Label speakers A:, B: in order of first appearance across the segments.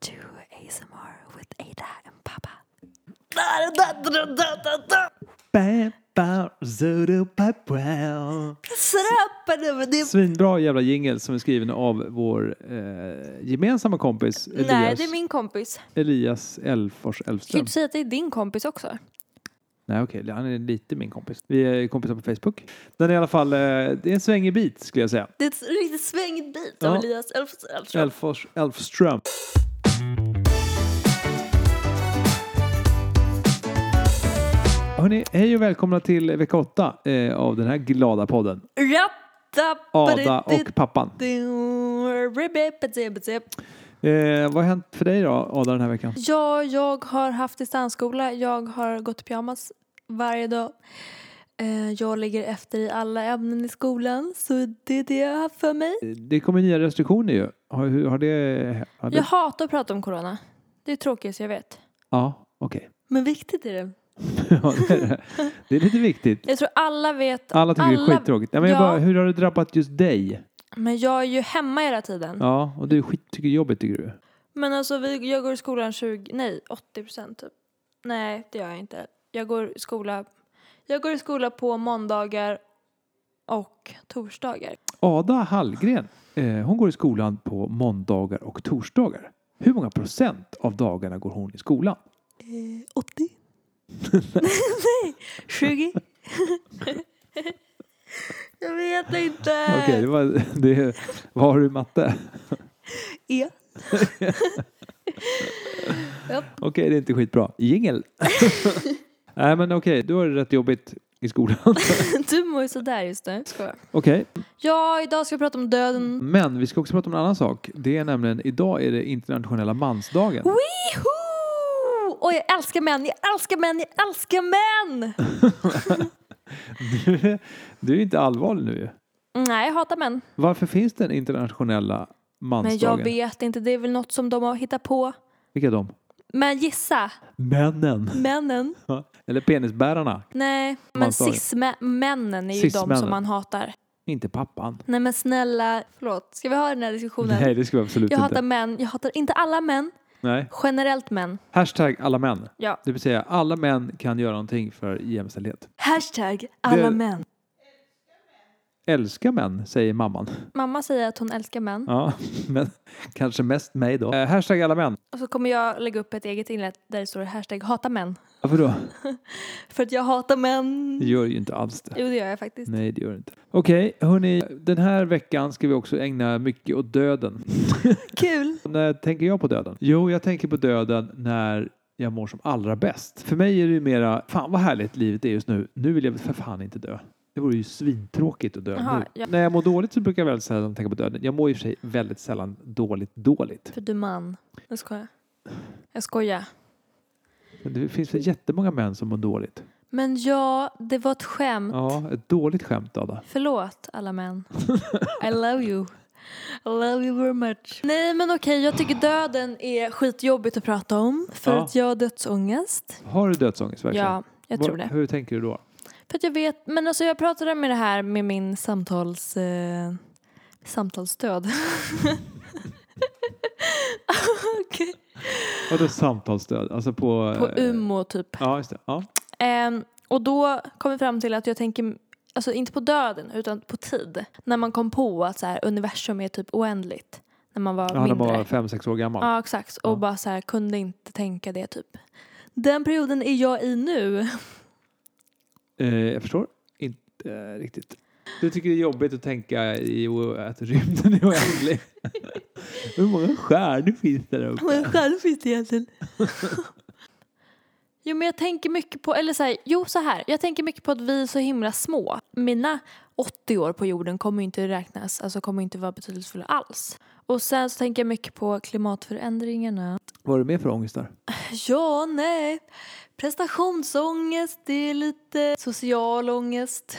A: to ASMR with Ada and Papa.
B: Svinbra jävla jingel som är skriven av vår eh, gemensamma kompis Elias,
A: Nej, det är min kompis.
B: Elias Elfors
A: Du kan
B: Elfström.
A: inte säga att det är din kompis också.
B: Nej okej, han är lite min kompis. Vi är kompisar på Facebook. Den är i alla fall, eh, det är en svängig bit skulle jag säga.
A: Det är ett riktigt svängigt bit
B: av
A: av
B: Ja.
A: Elias Elfström.
B: Elfors Elfström. Hörni, hej och välkomna till vecka 8 eh, av den här glada podden. Ada och pappan. Eh, vad har hänt för dig då, Ada, den här veckan?
A: Ja, jag har haft distansskola. Jag har gått i pyjamas varje dag. Eh, Jag ligger efter i alla ämnen i skolan, så det är det jag har för mig.
B: Det kommer nya restriktioner ju. Har, hur- har det... Har det
A: Jag hatar att prata om corona. Det är tråkigt, jag vet.
B: Ja, okej.
A: Men viktigt är det.
B: Ja, det, är det. det är lite viktigt.
A: Jag tror alla vet.
B: Alla tycker det är
A: Alla-
B: skittråkigt. Ja, men jag
A: Ja.
B: bara, hur har det drabbat just dig?
A: Men jag är ju hemma hela tiden.
B: Ja, och du skit, tycker det är jobbigt tycker du?
A: Men alltså vi, jag går i skolan 20, nej 80 procent typ. Nej det gör jag inte. Jag går i skola, jag går i skola på måndagar och torsdagar.
B: Ada Hallgren, eh, hon går i skolan på måndagar och torsdagar. Hur många procent av dagarna går hon i skolan?
A: 80? nej, 20? jag vet inte.
B: Okej, det var... Det, vad har du i matte?
A: E.
B: Okej, det är inte skitbra. Jingel! Nej, men okej, du har det rätt jobbigt i skolan. okej,
A: Du mår ju sådär just nu. Skojar. Ja, idag ska jag prata om döden.
B: men vi ska också prata om en annan sak. Det är nämligen, idag är det internationella mansdagen.
A: Wihoo! Oj, jag älskar män, jag älskar män, jag älskar män!
B: Du, du är inte allvarlig nu ju.
A: Nej, jag hatar män.
B: Varför finns den internationella
A: Men
B: mansdagen?
A: jag vet inte, det är väl något som de har hittat på.
B: Vilka är de?
A: Men gissa,
B: Männen.
A: männen?
B: Eller penisbärarna.
A: Nej, men
B: Mansdagen.
A: cis-männen är ju de
B: Cis-männen.
A: som man hatar.
B: Inte pappan.
A: Nej men snälla, förlåt, ska vi ha den här diskussionen?
B: Nej, det skulle vi absolut
A: jag
B: inte.
A: hatar män, jag hatar inte alla män,
B: Nej.
A: generellt män.
B: Hashtag alla män.
A: Ja.
B: Det vill säga alla män kan göra någonting för jämställdhet.
A: Hashtag alla
B: Det-
A: män.
B: Älska män, säger mamman.
A: Mamma säger att hon älskar män.
B: Ja, men kanske mest mig då. Eh, hashtag alla män.
A: Och så kommer jag lägga upp ett eget inlägg där det står hashtag hata män.
B: Varför då?
A: För att jag hatar män.
B: Det gör ju inte alls det.
A: Jo det gör jag faktiskt.
B: Nej, det gör det inte. Okej, hörni. Den här veckan ska vi också ägna mycket åt döden.
A: Kul!
B: När tänker jag på döden? Jo, jag tänker på döden när jag mår som allra bäst. För mig är det ju mera, fan vad härligt livet är just nu. Nu vill jag för fan inte dö. Det vore ju svintråkigt att dö
A: Jaha,
B: nu.
A: ja.
B: När jag mår dåligt så brukar jag väldigt sällan tänka på döden. Jag mår i och för sig väldigt sällan dåligt dåligt.
A: För du man. Jag skojar. Jag skojar.
B: Men det finns väl jättemånga män som mår dåligt.
A: Men ja, det var ett skämt.
B: Ja, ett dåligt skämt Ada.
A: Förlåt alla män. I love you. I love you very much. Nej men okej, jag tycker döden är skitjobbigt att prata om. För
B: Ja.
A: att jag har dödsångest.
B: Har du dödsångest verkligen?
A: Ja, jag
B: Vad-
A: tror det.
B: Hur tänker du då?
A: För att jag vet, men alltså jag pratade med det här med min samtals... Eh, samtalsstöd. Okej.
B: Vadå samtalsstöd? Alltså på...
A: På
B: eh,
A: Umo typ.
B: Ja, just det. Ja.
A: Ehm, och då kom vi fram till att jag tänker, alltså inte på döden utan på tid. När man kom på att så här, universum är typ oändligt. När man var
B: Ja, när
A: mindre.
B: man var fem, sex år gammal.
A: Ja exakt. Och
B: Ja.
A: bara så här, kunde inte tänka det typ. Den perioden är jag i nu.
B: Eh, jag förstår inte eh, riktigt. Du tycker det är jobbigt att tänka i o- att rymden är oändlig. Hur många stjärnor finns där uppe?
A: Men själv finns det egentligen. Jo men jag tänker mycket på, eller så här, jo så här, jag tänker mycket på att vi är så himla små. Mina 80 år på jorden kommer ju inte räknas, alltså kommer inte vara betydelsefulla alls. Och sen så tänker jag mycket på klimatförändringarna.
B: Vad har du mer för ångest där?
A: Ja, nej. Prestationsångest, det är lite social ångest.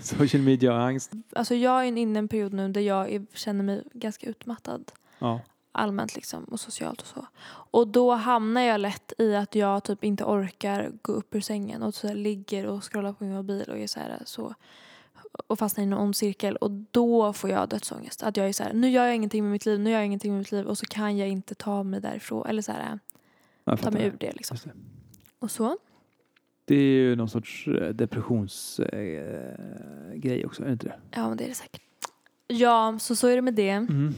B: Social media-angst.
A: Alltså jag är inne i en period nu där jag är, känner mig ganska utmattad
B: Ja.
A: allmänt liksom och socialt och så. Och då hamnar jag lätt i att jag typ inte orkar gå upp ur sängen och så här ligger och scrollar på min mobil och är så här så och fastnar i någon ond cirkel och då får jag dödsångest. Att jag är så här, nu gör jag ingenting med mitt liv, nu gör jag ingenting med mitt liv och så kan jag inte ta mig därifrån eller så här,
B: Jag
A: ta
B: fattar.
A: mig ur det liksom.
B: Just det.
A: Och så.
B: det är ju någon sorts eh, depressionsgrej också, är det inte det?
A: Ja, men det är det säkert. Ja, så så är det med det.
B: Mm.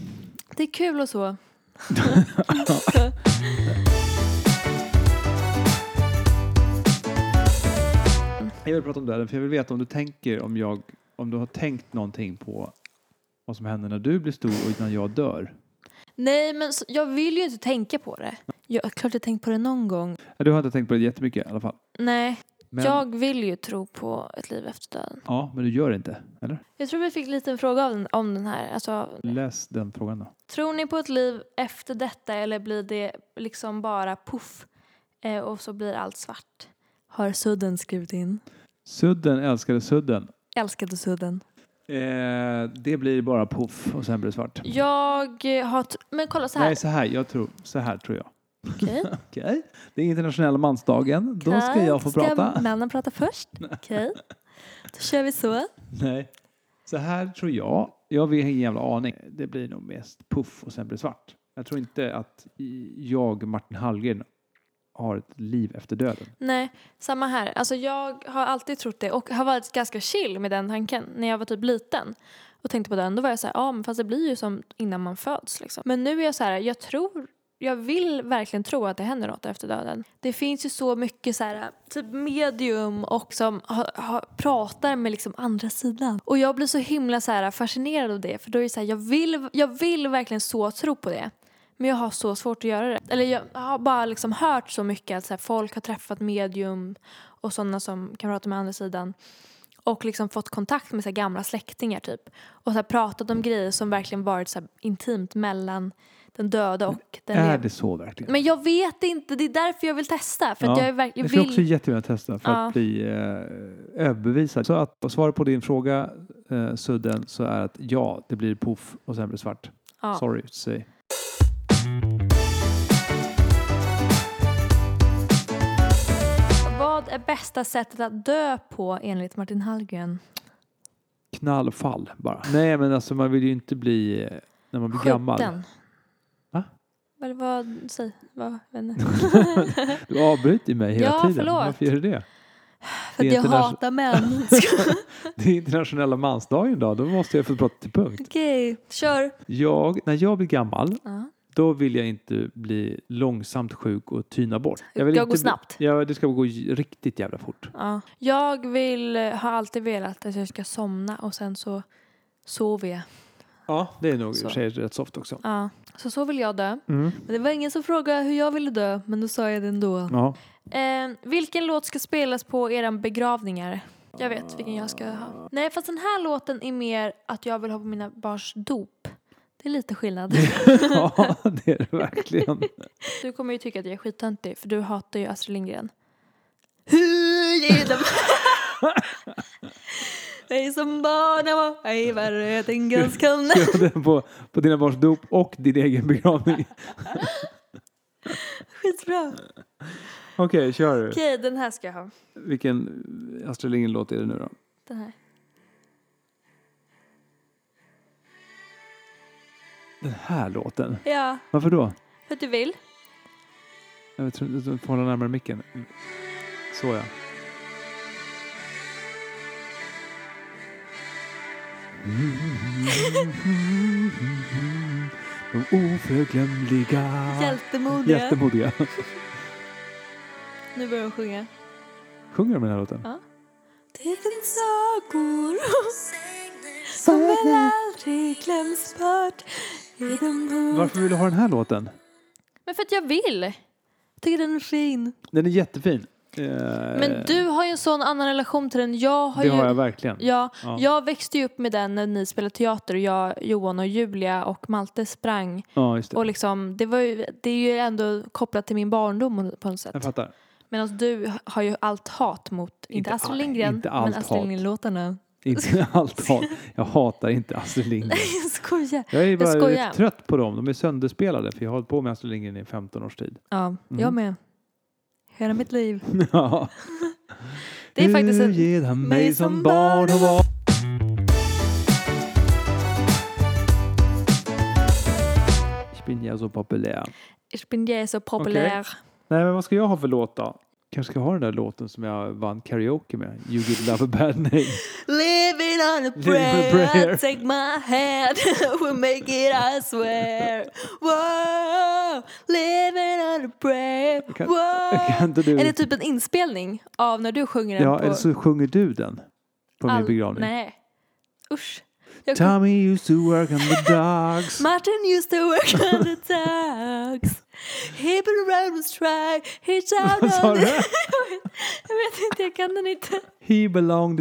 A: Det är kul och så.
B: Jag vill prata om döden, för jag vill veta om du tänker, om jag, om du har tänkt någonting på vad som händer när du blir stor och när jag dör.
A: Nej, men så, jag vill ju inte tänka på det. Jag klart jag tänkt på det någon gång.
B: Du har inte tänkt på det jättemycket i alla fall.
A: Nej,
B: Men,
A: jag vill ju tro på ett liv efter döden.
B: Ja, men du gör det inte, eller?
A: Jag tror vi fick lite en fråga om, om den här. Alltså,
B: Läs den frågan då.
A: tror ni på ett liv efter detta eller blir det liksom bara puff eh, och så blir allt svart? Har Sudden skrivit in.
B: Sudden, älskade Sudden.
A: Älskade Sudden.
B: Eh, det blir bara poff och sen blir det svart.
A: Jag eh, har... T- men kolla så här.
B: Nej, så här, jag tror, så här tror jag.
A: Okej.
B: Okej. Det är internationella mansdagen. Då ska
A: Okej,
B: jag få prata.
A: Ska männen prata först? Okej. Då kör vi så.
B: Nej. Så här tror jag. Jag har ingen jävla aning. Det blir nog mest puff och sen blir det svart. Jag tror inte att jag, Martin Hallgren, har ett liv efter döden.
A: Nej, samma här. Alltså jag har alltid trott det och har varit ganska chill med den tanken när jag var typ liten och tänkte på den. Då var jag så här, ja men fast det blir ju som innan man föds liksom. Men nu är jag så här, jag tror, jag vill verkligen tro att det händer något efter döden. Det finns ju så mycket så här, typ medium och som ha, ha, pratar med liksom andra sidan. Och jag blir så himla så här fascinerad av det för då är det så här, jag vill, jag vill verkligen så tro på det. Men jag har så svårt att göra det. Eller jag har bara liksom hört så mycket att så här, folk har träffat medium och sådana som kan prata med andra sidan och liksom fått kontakt med så här, gamla släktingar typ. Och så här, pratat om grejer som verkligen varit så här, intimt mellan den döda och den
B: är
A: levande.
B: det så verkligen?
A: Men jag vet inte, det är därför jag vill testa. För att
B: Ja,
A: jag, är verk- jag
B: jag skulle också
A: vill...
B: jättegärna testa för
A: Ja.
B: att bli eh, överbevisad. Så att och svaret på din fråga, eh, Sudden, så är att ja, det blir puff och sen blir det svart.
A: Ja.
B: Sorry to say.
A: Vad är bästa sättet att dö på enligt Martin Hallgren?
B: Knallfall bara. Nej, men alltså man vill ju inte bli, eh, när man blir gammal.
A: Skjuten.
B: Va?
A: Vad, vad, säg, vad, vad,
B: Du avbryter ju mig hela
A: Ja,
B: tiden.
A: förlåt.
B: Varför gör du det?
A: för
B: Det
A: att
B: är
A: jag
B: internation-
A: hatar män.
B: Det är internationella mansdagen idag, då måste jag få prata till punkt.
A: Okej, kör.
B: Jag, när jag blir gammal,
A: Ja.
B: då vill jag inte bli långsamt sjuk och tyna bort. Jag vill
A: Jag
B: inte
A: går snabbt.
B: Bli, ja, det ska gå j- riktigt jävla fort.
A: Ja. Jag vill, har alltid velat att jag ska somna och sen så sover jag.
B: Ja, det är nog i och
A: Så.
B: för sig rätt soft också.
A: Ja. Så så vill jag dö.
B: Mm.
A: Men det var ingen som frågade hur jag ville dö, men då sa jag det ändå.
B: Ja.
A: Eh, vilken låt ska spelas på era begravningar? Jag vet vilken jag ska ha. Nej, fast den här låten är mer att jag vill ha på mina barns dop. Det är lite skillnad.
B: ja, det är det verkligen.
A: Du kommer ju tycka att jag är skittöntig för du hatar ju Astrid Lindgren. Ljuden. Hej som barn jag var, hej vad röten ganska
B: Gör det på, på dina barns dop och din egen begravning.
A: Skitbra.
B: Okej, kör.
A: Okej, den här ska jag ha.
B: Vilken Astrid Lindgren-låt är det nu då?
A: Den här.
B: Den här låten.
A: Ja,
B: Varför då?
A: för att du vill.
B: Jag tror inte du får hålla närmare micken. Mm. Så ja. De oförglömliga
A: Hjältemodiga.
B: jättemodiga.
A: Nu börjar de sjunga.
B: Sjunger de den här låten?
A: Det finns sagor som väl aldrig glöms bort i de ord-
B: Varför vill du ha den här låten?
A: Men för att jag vill. Jag tycker den är fin.
B: Den är jättefin. Eh,
A: Men du har ju en sån annan relation till den. Jag har
B: det
A: ju...
B: har jag verkligen.
A: Ja,
B: Ja.
A: jag växte ju upp med den när ni spelade teater och jag, Johan och Julia och Malte sprang.
B: Ja, just det.
A: Och liksom, det, var ju, det är ju ändå kopplat till min barndom på något
B: Jag
A: sätt.
B: fattar.
A: Medan du har ju allt hat mot, inte,
B: Inte
A: Astrid
B: all-
A: Lindgren,
B: inte
A: men
B: allt
A: Astrid
B: hat. Mm.
A: Lindgren-låtarna.
B: Inte allt hat. Jag hatar inte Astrid Lindgren.
A: Jag skojar.
B: Jag är bara
A: skojar.
B: lite trött på dem. De är sönderspelade för jag har hållit på med Astrid Lindgren i 15 års tid.
A: Ja, jag
B: Mm.
A: med. Hela mitt liv.
B: Ja.
A: Det är faktiskt
B: Du
A: en...
B: Mm. ger han mig som barn och var jag så populär.
A: Ich bin ja så populär.
B: Nej, men vad ska jag ha för låt då? Kanske ska jag ha den där låten som jag vann karaoke med. You give love a bad name.
A: Living on a prayer,
B: prayer.
A: take my hand, we'll make it, I swear. Wow, living on a prayer,
B: Kan-
A: wow.
B: Kan inte du?
A: Är det typ en inspelning av när du sjunger den
B: ja,
A: på
B: eller så sjunger du den på min
A: all-
B: begravning.
A: Nej, usch. Jag kom...
B: Tommy used to work on the dogs.
A: Martin used to work on the dogs. He been around was try, he shout
B: Vad sa
A: on
B: du?
A: the... jag, vet, jag vet inte, jag kan den inte.
B: He belonged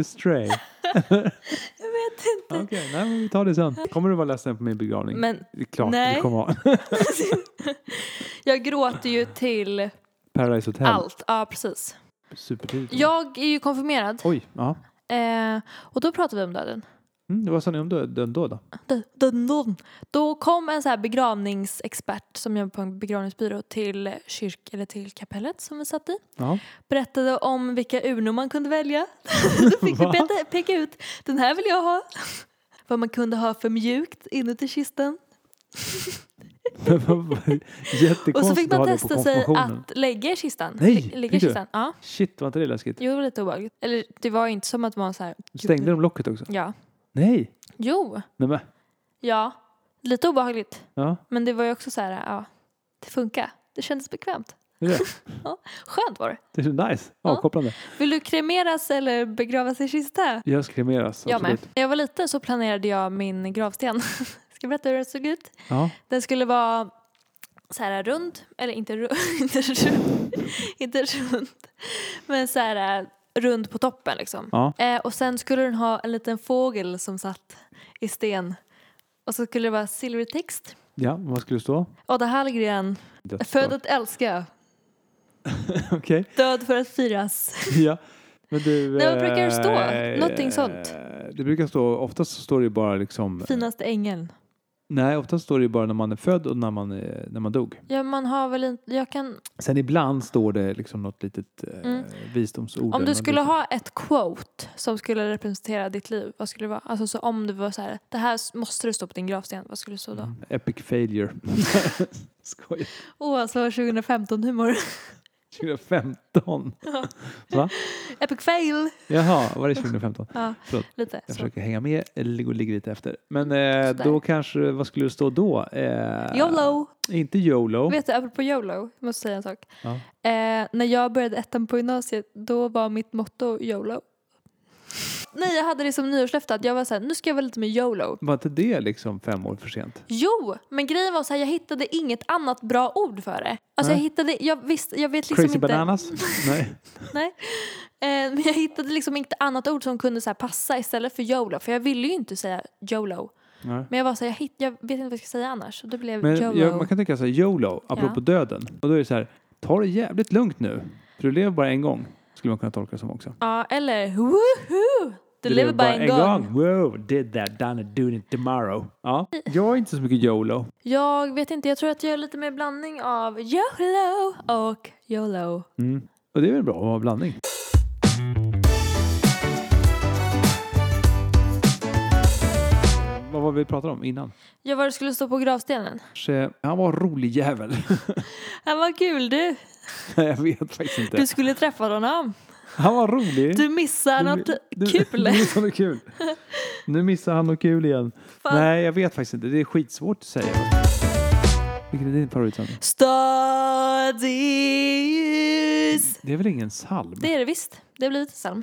B: astray.
A: Jag vet inte.
B: Okej, nej men vi tar det sen. Kommer du vara ledsen på min begravning?
A: Men
B: det är klart
A: nej.
B: du kommer vara.
A: jag gråter ju till
B: Paradise Hotel.
A: allt. Ja, precis.
B: Supertidigt.
A: Jag är ju konfirmerad.
B: Oj, ja.
A: Eh, och då pratade vi om döden.
B: Mm, vad sa ni om dö- den då? då?
A: Dö- döden, döden. Då kom en så här begravningsexpert som jobbar på en begravningsbyrå till kyrk eller till kapellet som vi satt i.
B: Ja.
A: Berättade om vilka urnor man kunde välja. då fick vi
B: Va?
A: peta, peka ut, den här vill jag ha. Vad man kunde ha för mjukt inuti kisten.
B: Jättekonstigt
A: Och så fick
B: att ha
A: man
B: det på
A: testa sig ah.
B: konfirmationen.
A: att lägga i kistan.
B: Nej,
A: Lä- lägga i
B: fick du?
A: kistan. Ja,
B: Shit, var inte det läskigt?
A: jo, det var lite obehagligt. Eller det var inte som att man så här... gud,
B: Stängde
A: nu-
B: de locket också?
A: Ja.
B: Nej!
A: Jo.
B: Nej men,
A: Ja. Lite obehagligt.
B: ja.
A: Men det var ju också så här, ja, det funkar. Det kändes bekvämt.
B: Det är, det.
A: Skönt var det.
B: det är så nice.
A: Ja.
B: Avkopplande.
A: Vill du kremeras eller begravas i kista?
B: Jag ska kremeras.
A: Jag med.
B: absolut.
A: När jag var liten så planerade jag min gravsten. Ska jag berätta hur den såg ut?
B: Ja.
A: Den skulle vara så här rund, eller inte rund, inte rund, inte rund. men så här eh, rund på toppen liksom.
B: Ja.
A: Eh, och sen skulle den ha en liten fågel som satt i sten. Och så skulle det vara silvertext.
B: ja, vad skulle det stå?
A: Ada Hallgren,
B: Dödsdag.
A: född att älska,
B: Okej.
A: död för att firas.
B: Ja. Men du... eh,
A: Nej, vad brukar det stå? Någonting sånt.
B: Det brukar stå, oftast så står det ju bara liksom...
A: Finaste ängeln.
B: Nej, oftast står det ju bara när man är född och när man, eh, när man dog.
A: Ja, man har väl inte, jag kan,
B: Sen ibland står det liksom något litet eh,
A: Mm.
B: visdomsord. eller
A: om du
B: något
A: skulle
B: litet.
A: ha ett quote som skulle representera ditt liv, vad skulle det vara? Alltså så om det var så här, det här s- måste du stå på din gravsten, vad skulle det stå då?
B: Mm. Epic failure. Skojar.
A: Åh, alltså 2015-humor.
B: 2015.
A: Epic fail!
B: Jaha, var det 2015?
A: Ja,
B: Förlåt.
A: lite
B: Jag
A: så.
B: försöker hänga med, eller ligger lite efter. Men eh,
A: Sådär.
B: då kanske, vad skulle det stå då? Eh,
A: YOLO!
B: Inte YOLO.
A: Vet du, apropå YOLO, jag måste säga en sak.
B: Ja.
A: Eh, när jag började ettan på gymnasiet, då var mitt motto YOLO. Nej, jag hade det som nyårslöfte att jag var så här, nu ska jag vara lite med YOLO.
B: Var inte det liksom fem år för sent?
A: Jo, men grejen var så här, jag hittade inget annat bra ord för det. Alltså
B: Nej.
A: jag hittade, jag visste, jag vet liksom
B: Crazy
A: inte.
B: bananas? Nej.
A: Eh, men jag hittade liksom inte annat ord som kunde så här passa istället för YOLO. För jag ville ju inte säga YOLO.
B: Nej.
A: Men jag var så här, jag, hitt, jag vet inte vad jag ska säga annars. Så det blev
B: Men
A: YOLO.
B: jag, man kan tänka så här, YOLO, apropå
A: Ja.
B: döden. Och då är det så här, ta det jävligt lugnt nu. För du lever bara en gång. Skulle man kunna tolka det som också.
A: Ja, eller woohoo! Du, lever bara en gång.
B: Wow, did that, done it, doing it tomorrow. Ja. Jag är inte så mycket YOLO.
A: Jag vet inte, jag tror att jag är lite mer blandning av YOLO och YOLO.
B: Mm. Och det är väl bra att ha en blandning. Vad var vi pratade om innan?
A: Jag var det skulle stå på gravstenen.
B: Kanske- Han var en rolig jävel.
A: Han var kul du!
B: Nej, jag vet faktiskt inte.
A: Du skulle träffa honom.
B: Han var rolig.
A: Du missar något
B: du,
A: kul.
B: Du missar något kul. Nu missar han något kul igen.
A: Fan.
B: Nej, jag vet faktiskt inte. Det är skitsvårt att säga. Vilken är din favoritsång?
A: Stadius.
B: Det är väl ingen psalm?
A: Det är det visst. Det har blivit en psalm.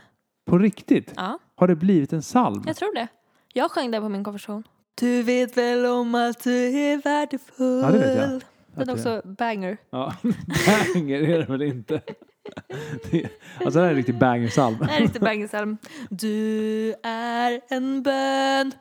B: På riktigt?
A: Ja,
B: Har det blivit en psalm?
A: jag tror det. Jag sjöng det på min konfirmation. Du vet väl om att du är värdefull.
B: Ja, det vet jag.
A: Den är
B: Att det-
A: också banger.
B: Ja, banger är det väl inte? Det, alltså det här är en riktig banger-psalm.
A: Det här är inte bangersalm. Du är en bön.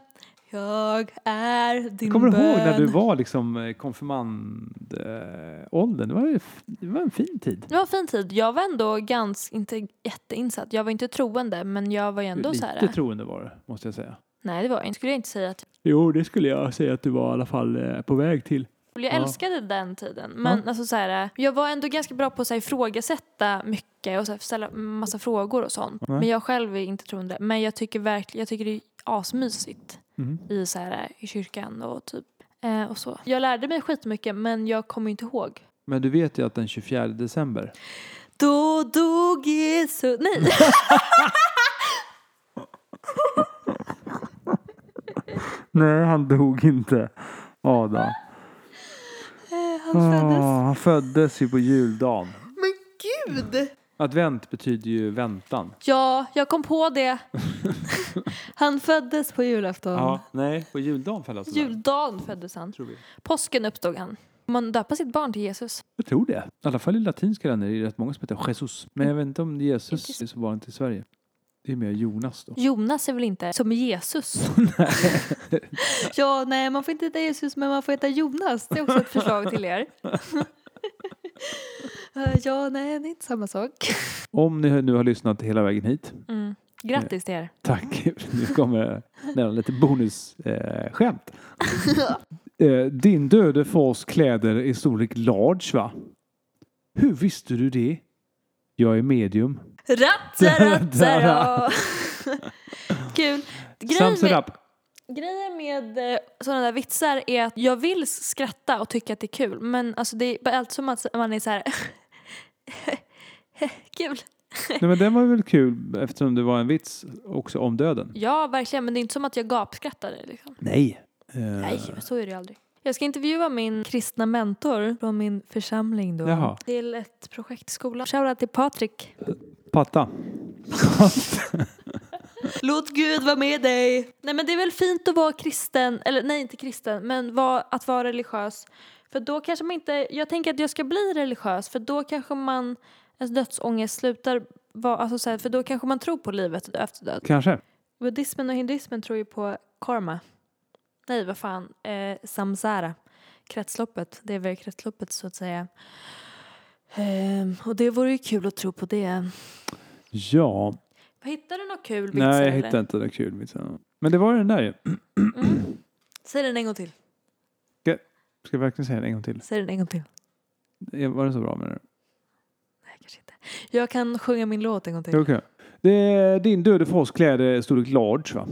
A: Jag är din
B: Kommer du
A: bön.
B: ihåg när du var liksom eh, konfirmandåldern? Eh, åldern? det, var, ju f- det var en fin tid.
A: Det var en fin tid. Jag var ändå ganska, inte jätteinsatt. Jag var inte troende, men jag var ju ändå så här. eh.
B: Lite troende var det, måste jag säga.
A: Nej, det var jag inte. Skulle jag inte säga att
B: Jo, det skulle jag säga att du var i alla fall eh, på väg till.
A: jag
B: Ja.
A: älskade den tiden. Men alltså så här, jag var ändå ganska bra på att så här, ifrågasätta mycket och så här, ställa massa frågor och sånt.
B: Nej.
A: Men jag själv är inte troende. Men jag tycker verkligen, jag tycker det är asmysigt
B: Mm.
A: i, så här, i kyrkan och typ Eh, och så. Jag lärde mig skitmycket men jag kommer inte ihåg.
B: Men du vet ju att den 24 december.
A: Då dog Jesus... Nej!
B: Nej, han dog inte. Adam.
A: Eh, Han
B: Åh,
A: föddes.
B: han föddes ju på juldagen.
A: Men gud!
B: Advent betyder ju väntan.
A: Ja, jag kom på det. Han föddes på julafton.
B: Ja, nej, på juldagen föll alltså den,
A: Juldagen föddes han.
B: Tror vi.
A: Påsken uppstod han. Om Man döper sitt barn till Jesus.
B: Jag tror det. I alla fall i latinsk kalender är det rätt många som heter Jesus. Men jag vet inte om Jesus är så vanligt i Sverige. Det är mer Jonas då.
A: Jonas är väl inte som Jesus? ja, nej, man får inte heta Jesus men man får heta Jonas. Det är också ett förslag till er. Eh, ja, nej, det är inte samma sak.
B: Om ni nu har lyssnat hela vägen hit.
A: Mm. Grattis till er.
B: Tack. Nu kommer nära lite bonusskämt. Eh, skämt. eh, din döde fars kläder är storlek large va? Hur visste du det? Jag är medium.
A: Ratsaratsara! Kul. Grejen
B: Sums it
A: med,
B: up.
A: grejen med eh, sådana där vitsar är att jag vill skratta och tycka att det är kul men alltså det är bara allt som att man är så här... kul.
B: Nej, men den var väl kul eftersom det var en vits också om döden.
A: Ja, verkligen. Men det är inte som att jag gapskrattar. Liksom.
B: Nej.
A: Nej, men så är det ju aldrig. Jag ska intervjua min kristna mentor från min församling då.
B: Jaha.
A: Till ett projekt i skolan. Shoutout till Patrik.
B: Patta.
A: Låt Gud vara med dig. Nej men det är väl fint att vara kristen, eller nej inte kristen, men vara- att vara religiös. För då kanske man inte, jag tänker att jag ska bli religiös för då kanske man, ens dödsångest slutar vara, alltså så här, för då kanske man tror på livet efter död.
B: Kanske.
A: Buddhismen och hinduismen tror ju på karma. Nej, vad fan. Eh, samsara. Kretsloppet. Det är väl kretsloppet så att säga. Ehm, och det vore ju kul att tro på det.
B: Ja.
A: Hittar du något kul vitsar,
B: Nej, jag
A: eller?
B: hittade inte den kul vitsen. Men det var den där ju.
A: Säg den en gång till.
B: Ska jag verkligen säga den en gång till?
A: Säg den en gång till.
B: Var den så bra menar du?
A: Nej, kanske inte. Jag kan sjunga min låt en gång till.
B: Okej. Det är din döde fars kläder är storlek large va?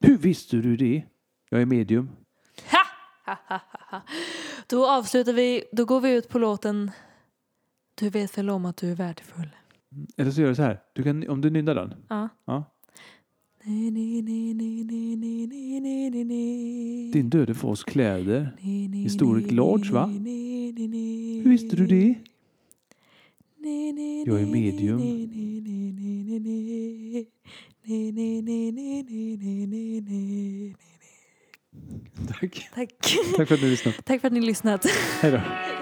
B: Hur visste du det? Jag är medium.
A: Ha! Ha, ha, ha, ha. Då avslutar vi, då går vi ut på låten Du vet väl om att du är värdefull.
B: Eller så gör du så här. Du kan, om du nynnar den.
A: Ja.
B: Ja.
A: Nej, nej, nej, nej, nej, nej, nej, nej, nej, nej.
B: Din döde fars kläder.
A: I
B: storlek large, va? Hur visste du det? Jag är medium. Tack.
A: Tack.
B: Tack för att ni lyssnat.
A: Tack för att ni lyssnat.
B: Hej då.
A: Hej.